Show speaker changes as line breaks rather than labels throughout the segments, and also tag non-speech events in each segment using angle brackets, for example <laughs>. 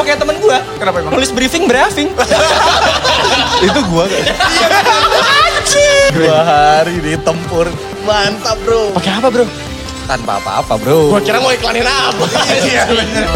kayak temen gua.
Kenapa emang?
Nulis briefing briefing.
Itu gua kayaknya.
Anjing.
Dua hari ditempur. Mantap bro.
Pakai apa, Bro?
Tanpa apa-apa bro.
Gua kira mau iklanin apa.
Iya bener.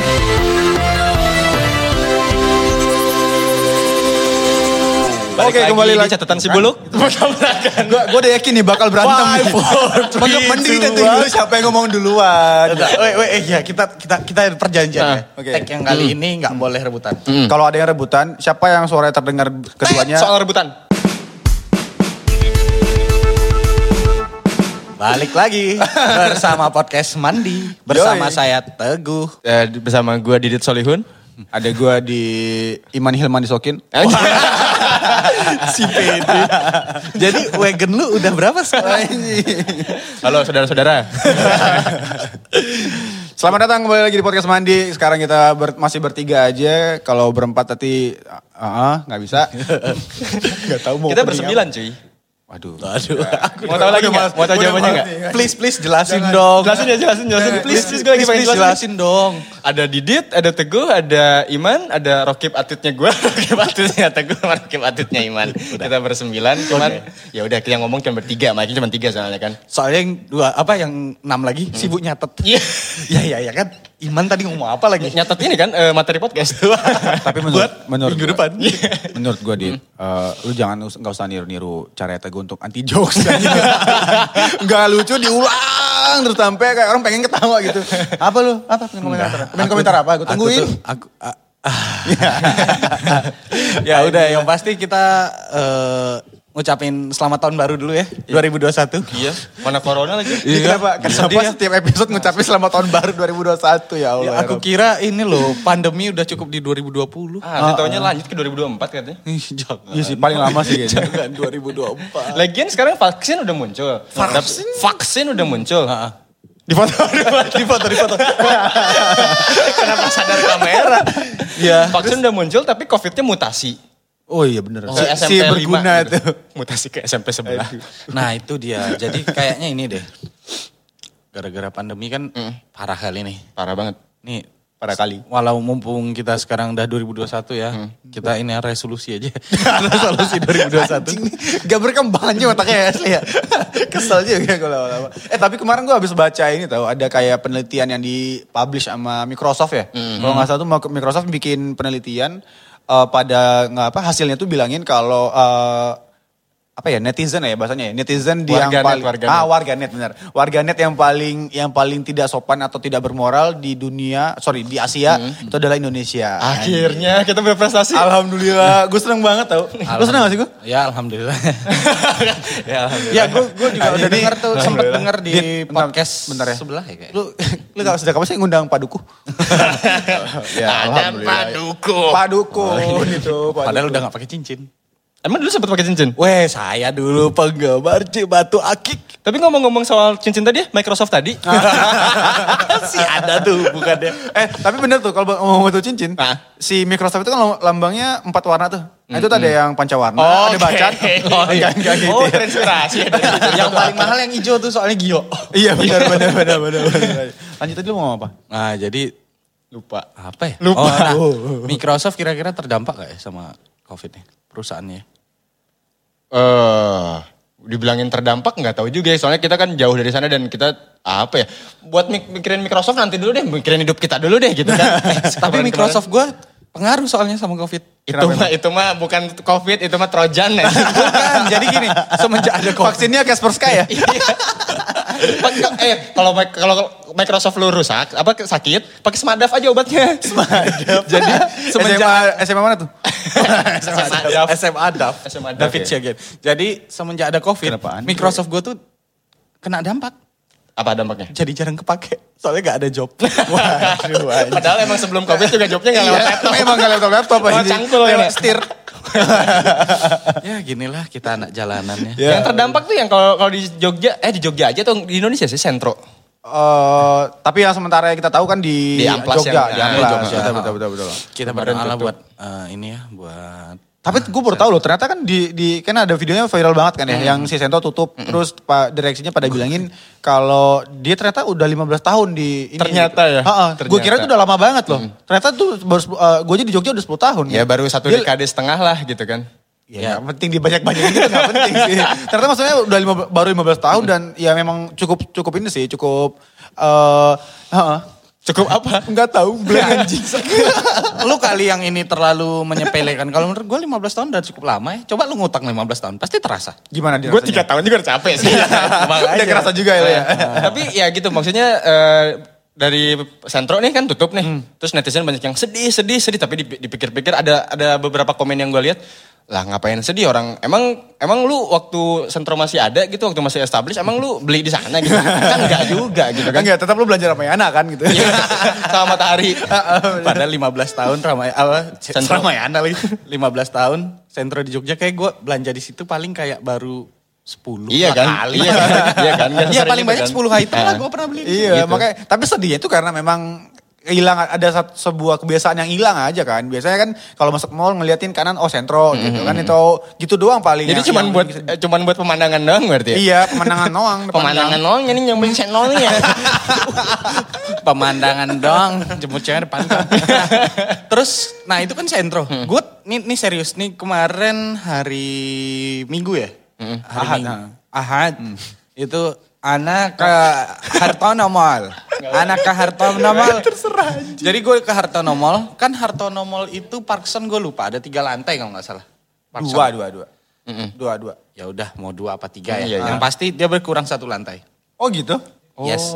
Balik
Oke,
lagi
kembali
di
lagi.
catatan si Buluk.
Gua, gua udah yakin nih bakal berantem.
Five,
nih. <laughs>
four,
Mending
three,
mending kita
two,
tunggu
one.
dulu siapa yang ngomong duluan.
Enggak, weh, weh, eh, ya kita kita kita ada perjanjian
Nah,
ya.
oke. Hmm.
Tag yang kali ini nggak boleh rebutan.
Kalau ada yang rebutan, siapa yang suaranya terdengar keduanya?
Soal rebutan.
Balik
<laughs>
lagi bersama podcast Mandi bersama
Yoi.
saya Teguh.
Eh, bersama gua Didit Solihun.
Ada gua di Iman Hilman Disokin.
Eh.
<laughs>
si PD. Jadi wagon lu udah berapa sekarang?
Halo saudara-saudara.
Selamat datang kembali lagi di podcast Mandi. Sekarang kita ber- masih bertiga aja. Kalau berempat tadi ah ah, nggak bisa. <laughs> Nggak tahu mau.
Kita
opening
bersembilan, cuy.
apa. Waduh.
Aduh, aku
Mau tahu lagi nggak? Mau tahu jawabannya nggak?
Please, please Oh, jelasin
Jangan.
dong.
Jelasin ya, jelasin, jelasin. Please, please, gue lagi pengen
please,
jelasin.
jelasin dong.
Ada Didit, ada Teguh, ada Iman, ada Rokib atutnya gue, <laughs> Rokib atutnya Teguh, sama Rokib atutnya Iman. Kita bersembilan, cuman ya udah yang ngomong cuma bertiga, makanya cuma tiga soalnya kan.
Soalnya yang dua apa yang enam lagi sibuk nyatet.
Iya.
ya ya ya kan. Iman tadi ngomong apa lagi?
Nyatet ini kan eh, materi <laughs> podcast tuh.
Tapi menurut
Buat
menurut
minggu
gua-
depan.
Iya.
menurut gua di lu jangan us- nggak usah niru-niru cara Teguh untuk anti jokes. <laughs>
Iya.
Enggak lucu diulang terus sampai kayak orang pengen ketawa gitu. Apa lu? Apa pengen komentar? Pengen
<laughs> Aku-
komentar apa? Gue
aku
tungguin.
tuh- Aku, a-
<laughs>
ah. ya udah yang pasti kita eh, ngucapin selamat tahun baru dulu ya Iya. 2021.
iya, mana corona lagi.
Ini Kenapa? Kan Kenapa
Sedih ya.
setiap episode ngucapin selamat tahun baru 2021 ya Allah.
Ya, aku kira ini loh pandemi udah cukup di 2020.
Iya, Ah, nanti tahunnya lanjut ke 2024 katanya.
Ih, jangan.
Iya sih paling lama sih
<laughs>
kayaknya.
Jangan 2024.
Lagian sekarang vaksin udah muncul. Vaksin? Ah, Vaksin udah muncul.
Di foto, di foto, di foto.
Kenapa sadar kamera?
Ya.
Vaksin udah muncul tapi COVID-nya mutasi. Eh,
Oh iya bener.
Si
si
SMP
berguna
lima. gitu.
itu.
Mutasi ke SMP sebelah.
Nah itu dia. Jadi kayaknya ini deh. Gara-gara pandemi kan
Hmm.
parah kali nih.
Parah banget.
Nih
Parah kali.
Walau mumpung kita sekarang udah 2021 ya,
Hmm.
kita ini resolusi aja. <laughs> resolusi 2021.
Gak berkembangnya otaknya ya asli ya. Kesel juga gue lama-lama. Eh tapi kemarin gue habis baca ini tahu ada kayak penelitian yang dipublish sama Microsoft ya.
Hmm.
Kalau nggak salah tuh Microsoft bikin penelitian eh, pada nggak apa hasilnya tuh bilangin kalau eh, apa ya netizen ya bahasanya ya netizen di yang
Warganet,
paling
warganet.
ah warganet benar warganet yang paling yang paling tidak sopan atau tidak bermoral di dunia sorry di Asia itu adalah Indonesia
Hmm. Akhirnya kita berprestasi.
Alhamdulillah gue seneng banget
<laughs>
tau lu seneng gak sih gue
Ya
<laughs>
alhamdulillah.
ya, alhamdulillah.
ya gue gue juga udah
Jadi-
denger tuh sempet
Alhamdulillah.
denger di
Nah, Dit, bentar,
podcast
bentar ya.
sebelah ya kayak.
Lu, lu gak sejak kapan sih ngundang Paduku?
Oh.
Nah,
ya,
paduku.
Paduku gitu.
Padahal udah gak pakai cincin.
Emang dulu sempat pakai cincin?
Weh saya dulu penggemar Cibatu Akik.
Tapi ngomong-ngomong soal cincin tadi ya, Microsoft tadi.
si ada tuh bukannya.
Eh, tapi bener tuh kalau ngomong itu cincin,
Hah?
si Microsoft itu kan lo- lambangnya empat warna tuh. Nah, itu tuh ada yang pancawarna, ada bacan.
<laughs> Oh, iya.
Enggak, enggak gitu.
oh
ya.
transpirasi.
<laughs> yang paling mahal yang hijau tuh soalnya Gio.
Iya, benar benar benar benar. benar. Lanjut aja lu mau ngomong
<laughs>
apa?
Nah jadi
Lupa.
apa ya?
Lupa.
Oh, nah, Microsoft kira-kira terdampak gak ya sama covid nih perusahaannya? ya?
Eh, dibilangin terdampak nggak tahu juga ya. Soalnya kita kan jauh dari sana dan kita apa ya? Buat mik- mikirin Microsoft nanti dulu deh, mikirin hidup kita dulu deh gitu
<laughs>
kan.
Tapi Microsoft gue pengaruh soalnya sama covid.
itu mah itu mah bukan Covid, itu mah Trojan ya. <laughs>
Bukan, Kan, jadi gini, semenjak ada covid.
Vaksinnya Casper Sky ya?
<laughs> Iya. Pak- eh kalau mic- kalau Microsoft lu rusak apa ke- sakit pakai Smadaf aja obatnya. Smadaf. Jadi
SMA, SMA mana
<laughs>
tuh?
Smadaf.
SMA DAF.
SMA DAF,
David
ya.
Siagian. Jadi semenjak ada covid,
Kenapaan?
Microsoft gue tuh kena dampak.
Apa dampaknya?
Jadi jarang kepake, soalnya gak ada job.
Padahal emang sebelum Covid juga jobnya nggak
Iya.
lewat laptop.
Memang gak laptop laptop
Oh,
aja.
cangkul ya, Mak?
Setir.
ya ginilah kita anak jalanannya.
Ya.
Yang terdampak tuh yang kalau kalau di Jogja, eh di Jogja aja atau di Indonesia sih sentro.
Eh, tapi yang sementara yang kita tahu kan di,
Di Amplas
Jogja,
yang-
di
ah,
Amplas.
Jogja.
Betul, betul, betul, betul.
Kita berdoa buat eh, ini ya, buat
Tapi gue baru tahu loh, ternyata kan di, di kan ada videonya viral banget kan ya, yang si Sento tutup, terus pak direksinya pada bilangin kalau dia ternyata udah 15 tahun di ini.
Ternyata ya?
Gue
Ternyata.
kira itu udah lama banget loh. Ternyata tuh baru gue aja di Jogja udah 10 tahun. gitu.
Ya baru satu
Dia-
dekade setengah lah gitu kan.
Ya, yang penting dibanyak-banyakin itu gak penting
<laughs>
sih. Ternyata maksudnya udah lima, baru 15 tahun dan ya memang cukup cukup ini sih, cukup eh heeh.
Cukup apa?
Enggak tahu, blank anjing.
lu kali yang ini terlalu menyepelekan. Kalau menurut gue 15 tahun udah cukup lama ya. Coba lu ngutang 15 tahun, pasti terasa.
Gimana dia?
Gue tiga tahun juga udah capek sih.
Udah kerasa juga ya. lo ya.
Tapi ya gitu maksudnya eh, dari sentro nih kan tutup nih.
Hmm.
Terus netizen banyak yang sedih, sedih, sedih. Tapi dip- dipikir-pikir ada ada beberapa komen yang gue lihat. Lah ngapain sedih orang? Emang emang lu waktu sentro masih ada gitu, waktu masih established, emang lu beli di sana
<laughs>
gitu? kan enggak juga gitu kan?
Enggak, tetap lu belanja Ramayana kan gitu. Ah,
Iya,
<laughs>
sama matahari.
Padahal 15 tahun Ramai apa C-
Sentro.
Ramayana <laughs> lagi. 15 tahun sentro di Jogja kayak gue belanja di situ paling kayak baru 10
Iya kan?
kali.
Iya kan? Iya kan? Nggak
Iya
sesering
paling
itu
banyak
kan?
10 item lah
Nah.
gue pernah beli. di situ.
Iya,
Gitu.
makanya tapi sedihnya itu karena memang hilang ada sat- sebuah kebiasaan yang hilang aja kan. Biasanya kan kalau masuk mall ngeliatin kanan oh
Hmm.
sentro gitu kan itu gitu doang paling.
Jadi
yang-
cuman
yang- gitu.
buat eh, cuman buat pemandangan doang berarti ya?
Iya,
<laughs>
pemandangan doang. depan
Pemandangan doang ini yang beli channel nih ya.
pemandangan doang jemput cewek depan kan. terus nah itu kan sentro gue nih, nih serius nih kemarin hari minggu ya hari
Ahad, ah. Hmm.
minggu. ahad itu anak ke Hartono Mall anak ke Hartono Mall jadi gue ke Hartono Mall kan Hartono Mall itu Parkson gue lupa ada tiga lantai kalau nggak salah
Lang.
Parkson.
Dua, dua, dua. Dua, dua.
ya udah mau dua apa tiga ya
Iya, iya.
yang pasti dia berkurang satu lantai
Oh gitu? Oh.
yes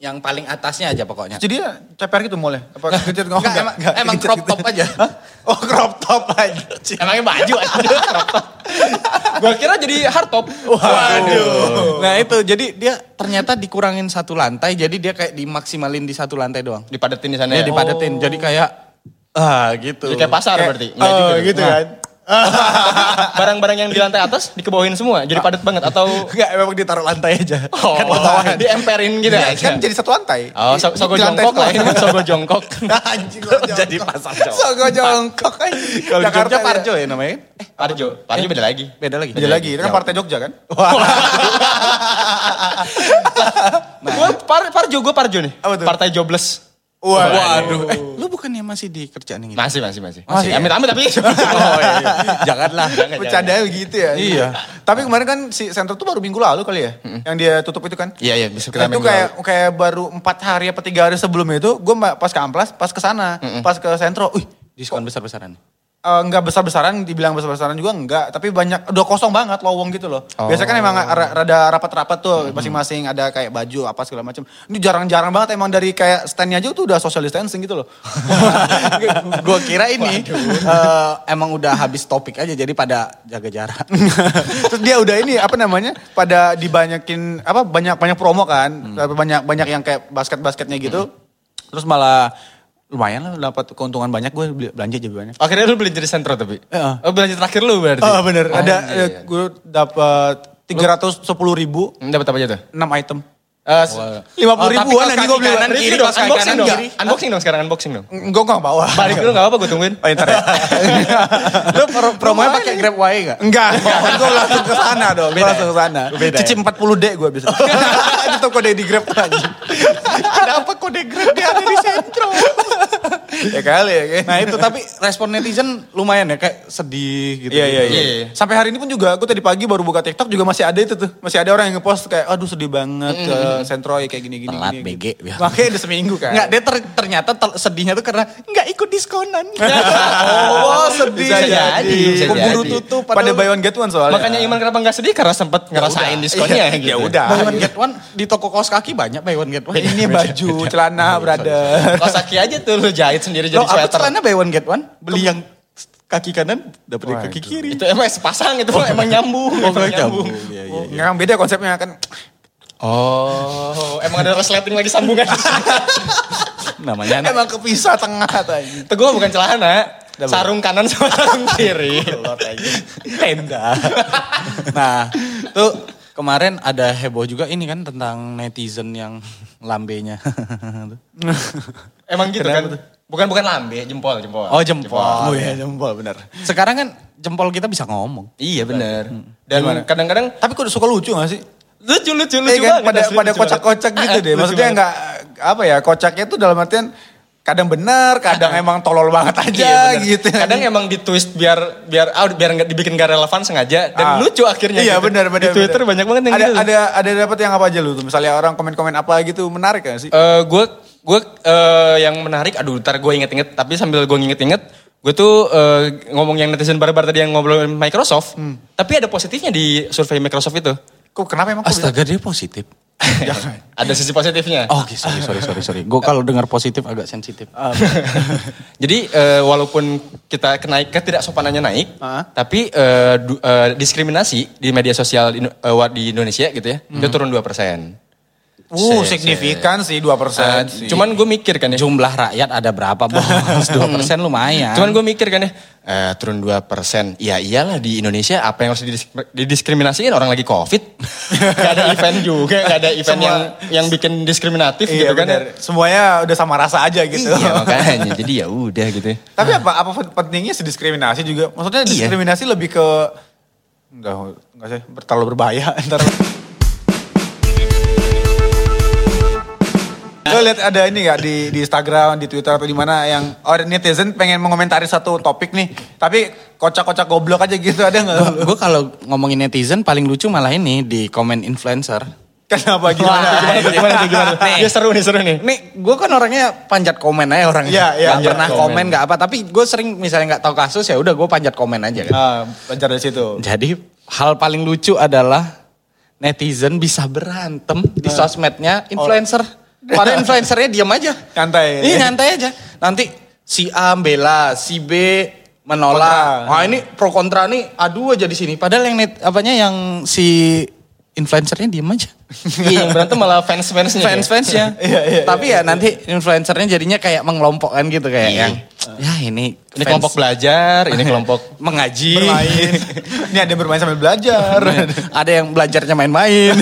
yang paling atasnya aja pokoknya
Jadi CPR gitu mallnya? Apa kegencet? Oh,
Enggak, emang- emang
kegencet
crop
gitu.
top aja.
Hah? Oh crop top aja.
<laughs> Emangnya baju aja. Gua kira jadi hardtop.
Waduh. Nah itu jadi dia ternyata dikurangin satu lantai jadi dia kayak dimaksimalin di satu lantai doang.
<laughs> Dipadetin di sana
Oh.
Dia
ya.
dipadetin jadi kayak ah gitu.
Jadi kayak pasar berarti. Nggak
Oh
juga. Nah,
gitu kan?
Barang-barang yang di lantai atas dikebawain semua.
Ah.
Jadi padat banget
<laughs>
atau
Enggak, emang ditaruh lantai aja. <laughs>
oh, di emperin gitu
Iya,
aja.
kan jadi satu lantai.
Oh, so,
Di-
sogo
di lantai
jongkok lah ini
sekolah.
sogo jongkok.
Anjing lo
Jadi
jongkok.
pasar jongkok.
Sogo jongkok aja.
Kalau di
Jakarta
Jogja
ya.
Parjo ya namanya. Eh
Parjo, Parjo beda lagi.
beda lagi.
Beda lagi, itu kan partai Jogja kan?
Gua par, Parjo, gua Parjo nih.
Apa tuh?
Partai jobless.
Waduh. Eh, lu bukannya masih di kerjaan yang itu?
Masih, masih, masih. Masih.
Masih ya?
Amit, amit <laughs> tapi.
Oh, iya. Janganlah.
Jangan, jangan.
Bercandanya begitu ya.
Iya.
Tapi kemarin kan si Sentro tuh baru minggu lalu kali ya. Yang dia tutup itu kan.
Iya, iya, bisa kita
Nah, itu
main
kayak kayak baru empat hari apa tiga hari sebelum itu gue pas ke amplas pas ke sana pas ke sentro uh
Diskon besar-besaran.
enggak besar besaran dibilang besar besaran juga enggak tapi banyak udah kosong banget lowong gitu loh biasanya kan emang
Oh.
ra- rada rapat rapat tuh masing-masing ada kayak baju apa segala macam ini jarang-jarang banget emang dari kayak standnya aja tuh udah social distancing
<laughs>
gitu loh
gue kira ini eh, emang udah habis topik aja jadi pada jaga jarak. <laughs>
Terus dia udah ini apa namanya? Pada dibanyakin apa banyak banyak promo kan? Banyak banyak yang kayak basket-basketnya gitu. Terus malah lumayan lah dapat keuntungan banyak gue beli- belanja jadi banyak.
Akhirnya lu beli jadi sentro tapi.
Heeh.
Oh, belanja terakhir lu berarti.
Oh bener, ada
iya, iya.
eh, gue dapat 310 ribu
Hmm, Dapat apa aja tuh?
6 item.
Eh, s-
lima
Oh,
puluh
tapi kaos
ribuan nanti
kaki
gue beli
kanan,
Review
review
kiri,
dong.
dong,
kaos kaki
unboxing
kanan,
dong.
kiri.
Unboxing dong sekarang unboxing dong.
Enggak, enggak bawa.
Balik dulu gak apa-apa gue tungguin.
Oh, ntar <laughs> ya.
lu pro- promonya pakai Grab Way gak?
Enggak, enggak. Kan gue langsung ke sana dong. Gue
Beda
langsung ke sana.
Beda ya?
Cici 40D gue bisa. <laughs> Itu kode di Grab lagi.
Kenapa kode Grab dia ada di sentro?
Ya kali ya. kan?
Nah itu tapi respon netizen lumayan ya kayak sedih gitu.
Iya iya
Iya,
iya.
iya.
Sampai hari ini pun juga aku tadi pagi baru buka TikTok juga masih ada itu tuh. Masih ada orang yang ngepost kayak aduh sedih banget ke
Mm-hmm.
Sentroy kayak gini-gini.
Telat,
gini,
BG,
Gitu.
ya.
Makanya udah seminggu kan.
Enggak, dia ter- ternyata ter- sedihnya tuh karena nggak ikut <laughs> diskonan.
<laughs> Oh, sedih.
Bisa jadi, bisa
Keburu
jadi.
tutup pada buy one get one soalnya.
Makanya Iman kenapa gak sedih karena sempat ngerasain diskonnya gitu.
Ya udah.
buy one get one di toko kaos kaki banyak buy one get one.
Ini baju, celana, brother.
Kosaki aja tuh lu jahit sendiri jadi
Loh, aku
sweater.
celana buy one get one, beli yang kaki kanan dapat yang kaki kiri.
Itu emang sepasang itu emang nyambung.
Oh,
emang nyambung.
Iya, iya.
Nggak, beda konsepnya kan.
Oh, emang ada resleting lagi
<laughs>
sambungan.
Namanya <laughs> anak.
Emang kepisah tengah tadi.
Itu gue bukan celana. Sarung kanan sama sarung kiri.
tenda. <laughs> nah, tuh kemarin ada heboh juga ini kan <laughs> tentang netizen yang lambenya.
Emang gitu kan? Bukan bukan lambe, jempol, jempol.
Oh, jempol.
Oh iya jempol benar.
Sekarang kan jempol kita bisa ngomong.
Iya benar. Dan kadang-kadang
Tapi kok suka lucu gak sih?
lucu lucu lucu
Iya kan,
banget,
pada
asli,
pada
lucu
kocak-kocak
banget.
gitu deh.
<laughs> Lucu
Maksudnya
banget.
nggak apa ya kocaknya tuh dalam artian kadang benar,
<laughs>
kadang emang tolol
Iya,
banget aja
benar.
gitu.
Kadang emang di twist biar biar ah, biar nggak dibikin gak relevan sengaja dan
Ah.
lucu akhirnya.
Iya
gitu.
benar benar.
Di Twitter
benar.
banyak banget yang
ada,
gitu.
Ada ada dapat yang apa aja lu tuh? Misalnya orang komen-komen apa gitu menarik gak sih?
Eh, gue gue eh, yang menarik, aduh ntar gue inget-inget. Tapi sambil gue inget-inget, gue tuh eh, ngomong yang netizen barbar tadi yang ngobrolin Microsoft.
Hmm.
Tapi ada positifnya di survei Microsoft itu.
Kok kenapa emang? kok bisa?
Astaga dia positif.
ada sisi positifnya.
Oh, oke, sorry, sorry, sorry, sorry. Gue kalau dengar positif agak sensitif.
Jadi eh, walaupun kita kenaik ketidaksopanannya naik,
Ah.
tapi eh, du- eh, diskriminasi di media sosial di, Indo- eh, wa- di Indonesia gitu ya,
Hmm.
itu turun 2%.
Uh,
Se-
signifikan sih 2%
Eh,
sih.
cuman gue mikir kan ya.
Iya Jumlah rakyat ada berapa, Bos? 2% lumayan.
Cuman gue mikir kan ya, eh, turun 2%. Ya iyalah di Indonesia apa yang harus didisk- didiskriminasiin orang lagi covid. gak ada <laughs> event juga, gak ada event
Semua-
yang yang bikin diskriminatif
iya
gitu kan. ya.
benar. Semuanya udah sama rasa aja gitu.
Iya
<laughs>
makanya, jadi ya udah gitu ya.
Tapi apa apa pentingnya sih diskriminasi juga? Maksudnya
Iya.
diskriminasi lebih ke enggak enggak sih ber- terlalu berbahaya <laughs> ntar.
Nah.
Lo lihat ada ini gak di, di Instagram, di Twitter atau di mana yang oh, ada netizen pengen mengomentari satu topik nih, tapi kocak-kocak goblok aja gitu ada nggak?
Oh.
lu?
Gue kalau ngomongin netizen paling lucu malah ini di komen influencer.
<laughs> Kenapa gimana?
Gimana tuh, gimana tuh,
<laughs>
gimana tuh?
Nih.
Ya seru nih, seru nih.
Nih, gue kan orangnya panjat komen aja orangnya.
Iya, iya,
Nggak
iya.
pernah
Komen.
komen, nggak apa. Tapi gue sering misalnya nggak tahu kasus ya udah gue panjat komen aja. Kan?
Ah, belajar dari situ.
Jadi hal paling lucu adalah netizen bisa berantem
Nah.
di sosmednya influencer.
Oh. <laughs>
Padahal influencernya diam aja.
Nyantai.
Iya nyantai aja. Nanti si A bela, si B menolak.
Kontra.
Wah ini pro kontra nih adu aja di sini. Padahal yang net, apanya yang si influencernya diam aja.
<laughs> Iya, yang berantem malah fans-fansnya. ya. <laughs>
Fans-fansnya.
Iya, iya,
Tapi ya nanti influencernya jadinya kayak mengelompokkan gitu kayak yang ya
Iya.
ini
Ini
fans
kelompok belajar, ini kelompok
mengaji. <laughs>
Bermain. ini ada yang bermain sambil belajar.
ada yang belajarnya main-main.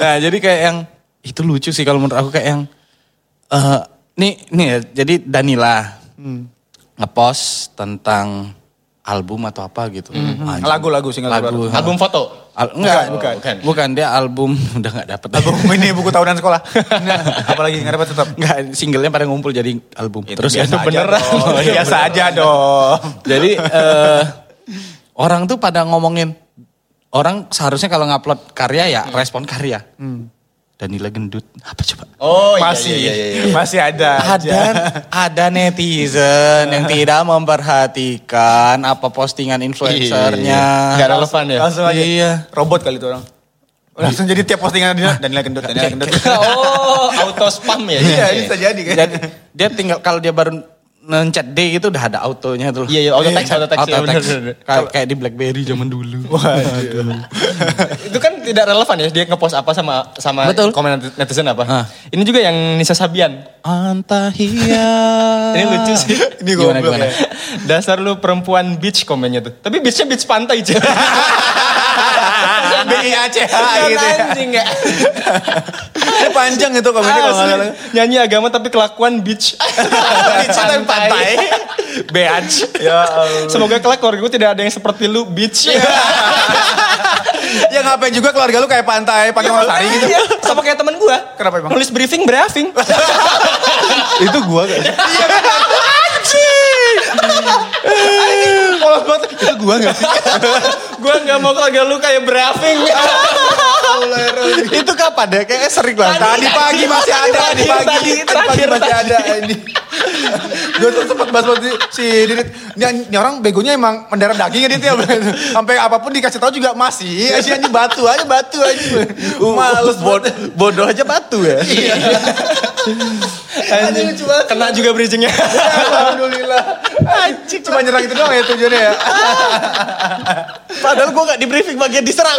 nah, jadi kayak yang itu lucu sih kalau menurut aku kayak yang eh nih nih ya, jadi Danila ngepost tentang album atau apa gitu. Anjing.
Lagu-lagu, single
lagu.
baru.
album foto.
Al- enggak,
Bukan,
bukan,
bukan.
bukan. dia album <laughs> udah nggak dapet.
Album ini buku tahunan
<laughs>
sekolah. Nah, apalagi nggak dapat tetap.
Enggak, singlenya pada ngumpul jadi album. Terus
biasa
itu
aja
<laughs> beneran.
dong.
Oh, iya,
biasa aja dong.
Jadi eh, orang tuh pada ngomongin orang seharusnya kalau ngupload karya ya respon karya. Danila gendut apa coba?
Oh
masih, masih iya, ada. aja.
Ada ada netizen <laughs> yang tidak memperhatikan apa postingan influencernya.
Gak relevan ya.
Langsung aja.
<laughs> Iya.
Robot kali itu orang. Langsung jadi tiap postingan Danila, Danila gendut, Danila gendut.
oh, auto spam ya.
Iya, bisa jadi kan.
<laughs> Jadi dia tinggal kalau dia baru nencet D itu udah ada autonya tuh.
Iya, iya, auto text, auto text.
Auto
Iya,
text.
bener, bener.
Kayak, kayak di BlackBerry zaman <laughs> dulu.
Itu kan tidak relevan ya dia ngepost apa sama sama
Betul.
komen net- netizen apa.
Ah.
Ini juga yang Nisa Sabian. <laughs>
Antahia. <laughs>
Ini lucu sih.
Ini
Gimana,
goblok
gimana?
ya.
Dasar lu perempuan beach komennya tuh. Tapi beachnya beach pantai
<laughs>
cuy.
Iya,
BIACH
Kan
gitu ya.
anjing ya.
Ini panjang itu komennya kalau nggak
Asli.
salah.
Nyanyi agama tapi kelakuan <laughs> beach.
Beach tapi pantai.
Beach.
Ya Allah.
Semoga kelak keluarga gue tidak ada yang seperti lu beach.
Ya ngapain juga keluarga lu kayak pantai, pantai Losari gitu.
Iya, sama kayak temen gue.
Kenapa emang?
Nulis briefing, <laughs> briefing.
itu gua gak sih? Iya kan? Anjing! <laughs> Polos banget. Itu gua <laughs> gak sih?
gue nggak mau keluarga lu kayak briefing.
itu kapan
ya?
deh? Kayaknya sering lah.
Tadi pagi masih ada, tadi pagi,
Tadi,
tadi pagi
terakhir,
masih ada ini. Gue tuh sempat bahas bahas di- si Didit. Ini, ini orang begonya emang mendarat dagingnya Didit ya. Sampai apapun dikasih tahu juga masih. Aja ini batu aja, batu aja. Males banget.
bodoh aja batu ya.
Anjing. Kena juga bridgingnya.
Alhamdulillah. Anjing. Cuma nyerang itu doang ya tujuannya ya.
Padahal gue gak di briefing bagian diserang.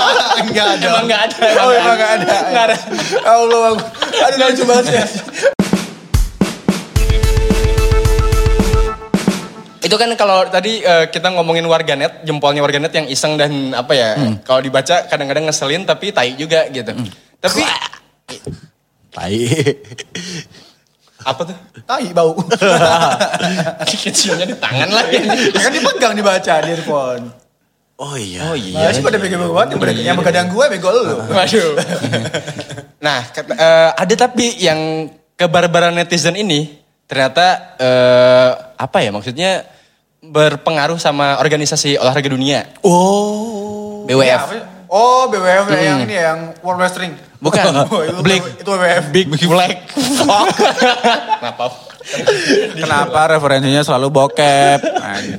<laughs>
Enggak ada.
Emang nggak ada.
Oh emang gak ada. Ya
Nggak ada.
Allah. aku- Aduh lucu banget ya.
Itu kan kalau tadi eh, kita ngomongin warganet, jempolnya warganet yang iseng dan apa ya. Kalau dibaca kadang-kadang ngeselin tapi Hmm. tai juga gitu. Tapi
Tai.
Apa tuh?
Tai bau.
Keciumnya di tangan lagi.
kan dipegang dibaca di earphone.
Oh iya.
Oh iya.
Ya, sih pada bego bego banget. Yang pada- Yang begadang gue bego lu.
Waduh. nah, ket- eh, ada tapi yang kebarbaran netizen ini ternyata eh, apa ya maksudnya berpengaruh sama organisasi olahraga dunia. Oh.
Ya,
BWF.
apa sih? Oh, BWF ya, yang ini ya, yang World Wrestling.
Bukan.
<laughs> Oh, itu,
Blake.
itu WWF.
Big Black Fuck. Kenapa?
Kenapa referensinya selalu bokep?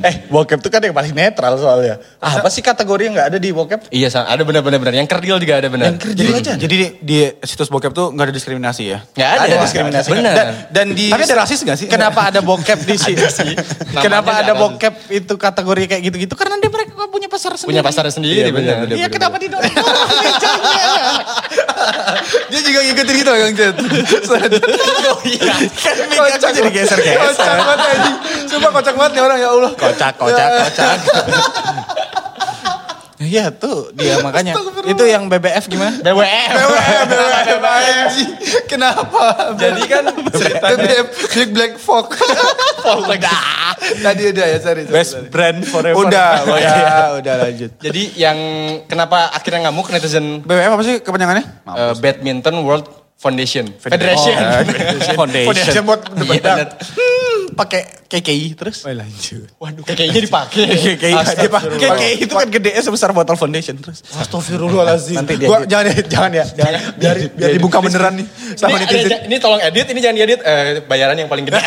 Eh, bokep tuh kan yang paling netral soalnya. Apa sih kategori yang nggak ada di bokep?
Iya, San. ada benar-benar benar. Yang kerdil juga ada benar.
Yang kerdil aja.
Jadi di, di situs bokep tuh nggak ada diskriminasi ya?
Nggak ada,
Ada diskriminasi.
Benar.
Dan, dan di
Tapi ada rasis nggak sih?
Kenapa ada bokep di sini?
Namanya
Kenapa ada
nggak
bokep itu kategori kayak gitu-gitu? Karena dia mereka punya pasar sendiri.
Punya pasar sendiri,
Iya, benar.
benar.
Iya, kenapa tidak? <laughs>
Dia juga ngikutin gitu Kang Jet.
Oh iya.
kocak jadi geser-geser. Kocak banget anjing. Sumpah kocak banget nih orang ya Allah.
Kocak, kocak, <laughs> kocak. Iya tuh dia makanya. Itu yang BBF gimana?
BWF.
BWF, BWF, anjing. Kenapa?
Jadi kan ceritanya
BWF, Big Black Fox. Tadi udah ya, sorry. sorry, sorry.
brand forever.
Udah,
Ya,
udah, udah lanjut.
Jadi yang kenapa akhirnya ngamuk netizen
BWF apa sih kepanjangannya?
eh, Badminton World Foundation. Federation.
Foundation buat
Iya, benar.
bedak. Hmm, pakai KKI terus. lanjut.
Waduh, kayaknya dipakai.
KKI
gitu.
nggak dia pakai.
Astagfirullah.
KKI itu kan gede sebesar botol foundation terus.
Astagfirullahaladzim.
Nanti dia
Gua,
edit.
jangan ya, jangan ya. Jangan. Biar, biar dibuka beneran nih. Sama
Ini,
netizen.
ada- ini tolong edit, ini jangan diedit. Eh, bayaran yang paling gede.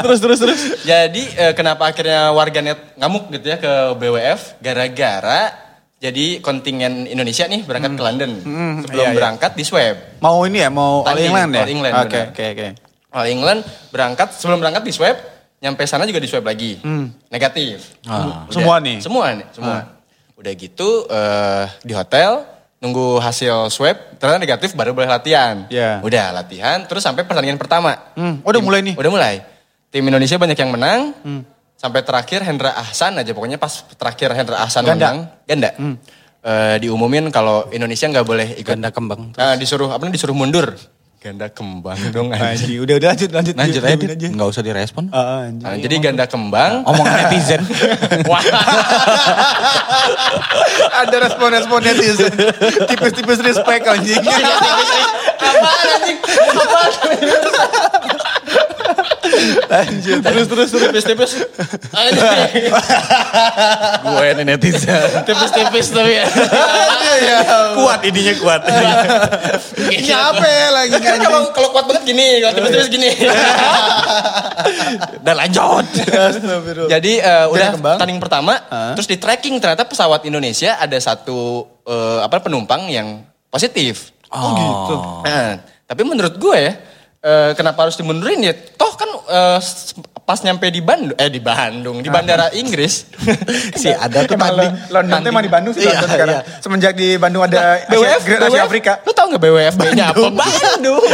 terus terus terus.
Jadi eh, kenapa akhirnya warganet ngamuk gitu ya ke BWF gara-gara jadi kontingen Indonesia nih berangkat ke London. Sebelum
iya, iya.
berangkat di swab.
Mau ini ya, mau All
Tanding,
England ya?
All England,
Oke,
benar.
oke, oke.
All England berangkat sebelum berangkat di swab, nyampe sana juga di swab lagi. Negatif. Udah.
Hmm. Semua nih? Ah.
Semua nih, semua. Udah gitu eh, di hotel nunggu hasil swab ternyata negatif baru boleh latihan.
Iya.
Udah latihan terus sampai pertandingan pertama.
Hmm, udah
Tim-
mulai nih? Hmm.
Udah mulai. Tim Indonesia banyak yang menang. Sampai terakhir Hendra Ahsan aja pokoknya pas terakhir Hendra Ahsan
Ganda. Hmm.
menang ganda. Eh, diumumin kalau Indonesia nggak boleh ikut
Ganda kembang.
Eh, disuruh apa namanya, disuruh mundur. Ganda kembang dong anjing.
Anjing, udah, udah lanjut, lanjut.
Lanjut
Diamin
edit. Enggak usah direspon.
Ah, anjing.
Nah, jadi ganda kembang.
Omong netizen.
Wah,
Ada respon-respon netizen. Tipis-tipis respect anjing.
apaan anjing?
Lanjut.
Terus terus terus tipis-tipis. Anjing.
Gue ini netizen.
Tipis-tipis tapi ya.
Aduh, ya.
kuat ininya kuat.
Nyape Iya, lagi
Kan
anjing.
kalau kalau kuat banget gini, kalau tipis-tipis <laughs> gini.
Dan lanjut.
Astagfirullah.
Jadi eh, udah
kembang.
tanding pertama, terus di tracking ternyata pesawat Indonesia ada satu eh, apa penumpang yang positif.
Oh, gitu.
Nah, tapi menurut gue ya, eh, kenapa harus dimundurin ya? Toh kan eh, s- pas nyampe di Bandung, eh di Bandung, di bandara <laughs> Inggris.
Si ada tuh
Emang
tanding.
London tuh emang di Bandung sih
Iya,
London sekarang.
iya.
Semenjak di Bandung ada Asia-
BWF,
Grand Asia Afrika.
Lu tau gak BWF-nya apa? <laughs> Bandung.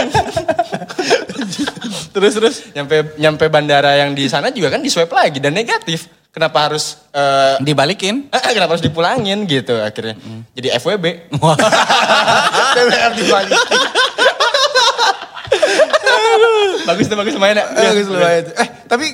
Terus terus.
nyampe nyampe bandara yang di sana juga kan di swab lagi dan negatif. Kenapa harus eh,
Dibalikin.
kenapa harus dipulangin gitu akhirnya. Jadi FWB.
BWF di Bali.
bagus tuh bagus mainnya.
Bagus lu Wahid. Eh, tapi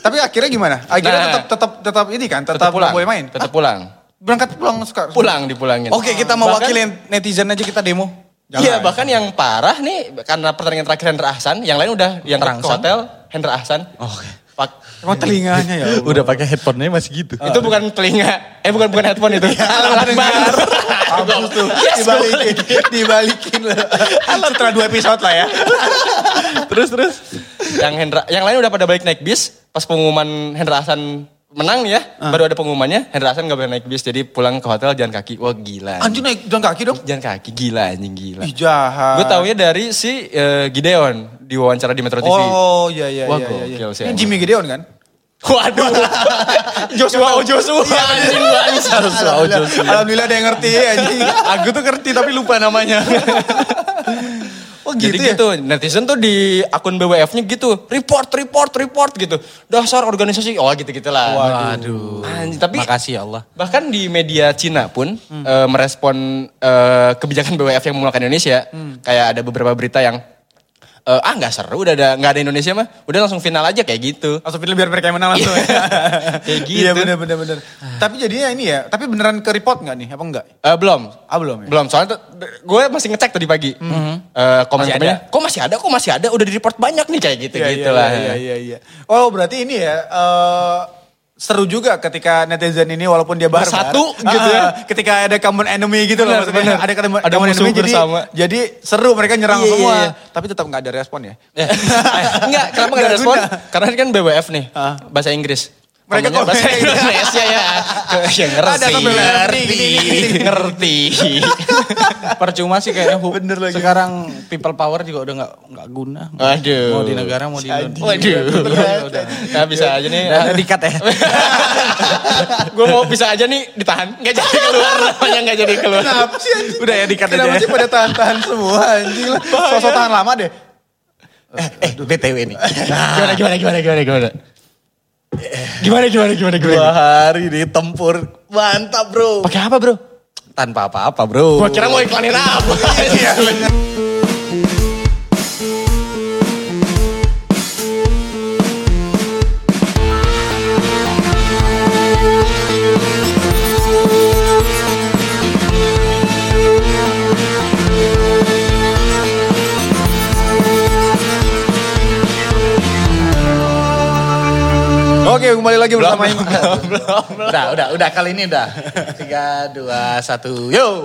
tapi akhirnya gimana? Akhirnya
Nah.
tetap tetap tetap ini kan, tetap,
Tetap pulang.
boleh main.
Tetap pulang.
Berangkat pulang suka.
Pulang dipulangin.
Oke, kita mewakili netizen aja kita demo.
Jangan.
Iya bahkan yang parah nih karena pertandingan terakhir Hendra Ahsan, yang lain udah yang ke
Rangsan?
hotel Hendra Ahsan.
Oke.
Pak-
Emang telinganya ya. Allah.
Udah pakai headphone-nya masih gitu.
itu bukan telinga, eh bukan bukan headphone itu. Alat dengar.
Kampus tuh dibalikin, dibalikin lah. Setelah dua episode lah ya.
terus terus.
yang Hendra, yang lain udah pada balik naik bis. Pas pengumuman Hendra Hasan menang nih ya, baru ada pengumumannya. Hendra Hasan gak boleh naik bis, jadi pulang ke hotel jalan kaki. Wah gila.
Anjing naik jalan kaki dong.
Jalan kaki gila anjing gila.
Ih jahat.
Gue taunya dari si eh, Gideon di wawancara di Metro TV.
Oh iya iya
Wah,
iya. iya.
gokil sih
Ini
emang.
Jimmy Gideon kan?
Waduh.
<laughs>
Joshua, oh Joshua. anjing Oh, banget.
<laughs> Alhamdulillah, Alhamdulillah ada yang ngerti anjing.
<laughs>
Aku tuh ngerti tapi lupa namanya.
Oh, gitu
Jadi
ya?
gitu, netizen tuh di akun BWF-nya gitu, report, report, report gitu. Dasar organisasi, oh gitu-gitulah.
Waduh.
Anjing, tapi
Makasih ya Allah.
Bahkan di media Cina pun eh, merespon eh, kebijakan BWF yang memulakan Indonesia, kayak ada beberapa berita yang eh, ah nggak seru, udah ada nggak ada Indonesia mah, udah langsung final aja kayak gitu.
Langsung pilih biar mereka yang menang langsung. ya.
Iya. <laughs> Kayak gitu. Ah.
Iya bener bener bener. tapi jadinya ini ya, tapi beneran ke report nggak nih? Apa enggak?
Eh, belum.
Ah belum ya?
Belum, soalnya tuh, gue masih ngecek tadi pagi. Eh, Komen-komennya, kok masih ada, kok masih ada, udah di report banyak nih kayak gitu
Iya,
gitu
iya,
lah.
Iya, iya, iya. Oh berarti ini ya, eh, seru juga ketika netizen ini walaupun dia barbar.
Bersatu gitu ya.
Ah, ketika ada common enemy gitu loh
Benar,
maksudnya.
benar.
Ada ketemu
Ada
common
musuh
enemy jadi,
bersama.
jadi seru mereka nyerang
Iya, iya,
semua.
iya.
Tapi tetap nggak ada respon ya.
Enggak, kenapa gak ada
Nggak
respon?
guna.
Karena ini kan BWF nih,
Ah.
bahasa Inggris.
Mereka
Komennya
komen.
bahasa
iya,
Indonesia ya. ya
Ada
ngerti,
kan BWF nih, gini, gini,
ngerti, ngerti.
<laughs> Percuma sih kayaknya. Hu.
Bener lagi.
Sekarang people power juga udah nggak nggak guna.
Waduh.
Mau di negara mau di Indonesia.
Waduh.
Udah.
Nah, bisa aja nih.
Udah, <laughs> udah dikat ya.
gue mau bisa aja nih ditahan. Gak jadi keluar, <laughs> namanya gak jadi keluar.
Kenapa sih anjing?
Udah ya, dikat
Kenapa
aja.
sih pada tahan-tahan semua anjing lah. Sosok tahan lama deh.
Eh,
<laughs>
BTW nih.
Gimana, gimana, gimana, gimana, gimana. Gimana, gimana, gimana, gimana.
Dua hari ditempur. Mantap, bro.
Pakai apa bro?
Tanpa apa-apa, bro.
Gue kira mau iklanin apa.
Oke kembali lagi bersama
Belum, belum, belum. Udah, udah, udah. Kali ini udah. Tiga, dua, satu. Yo.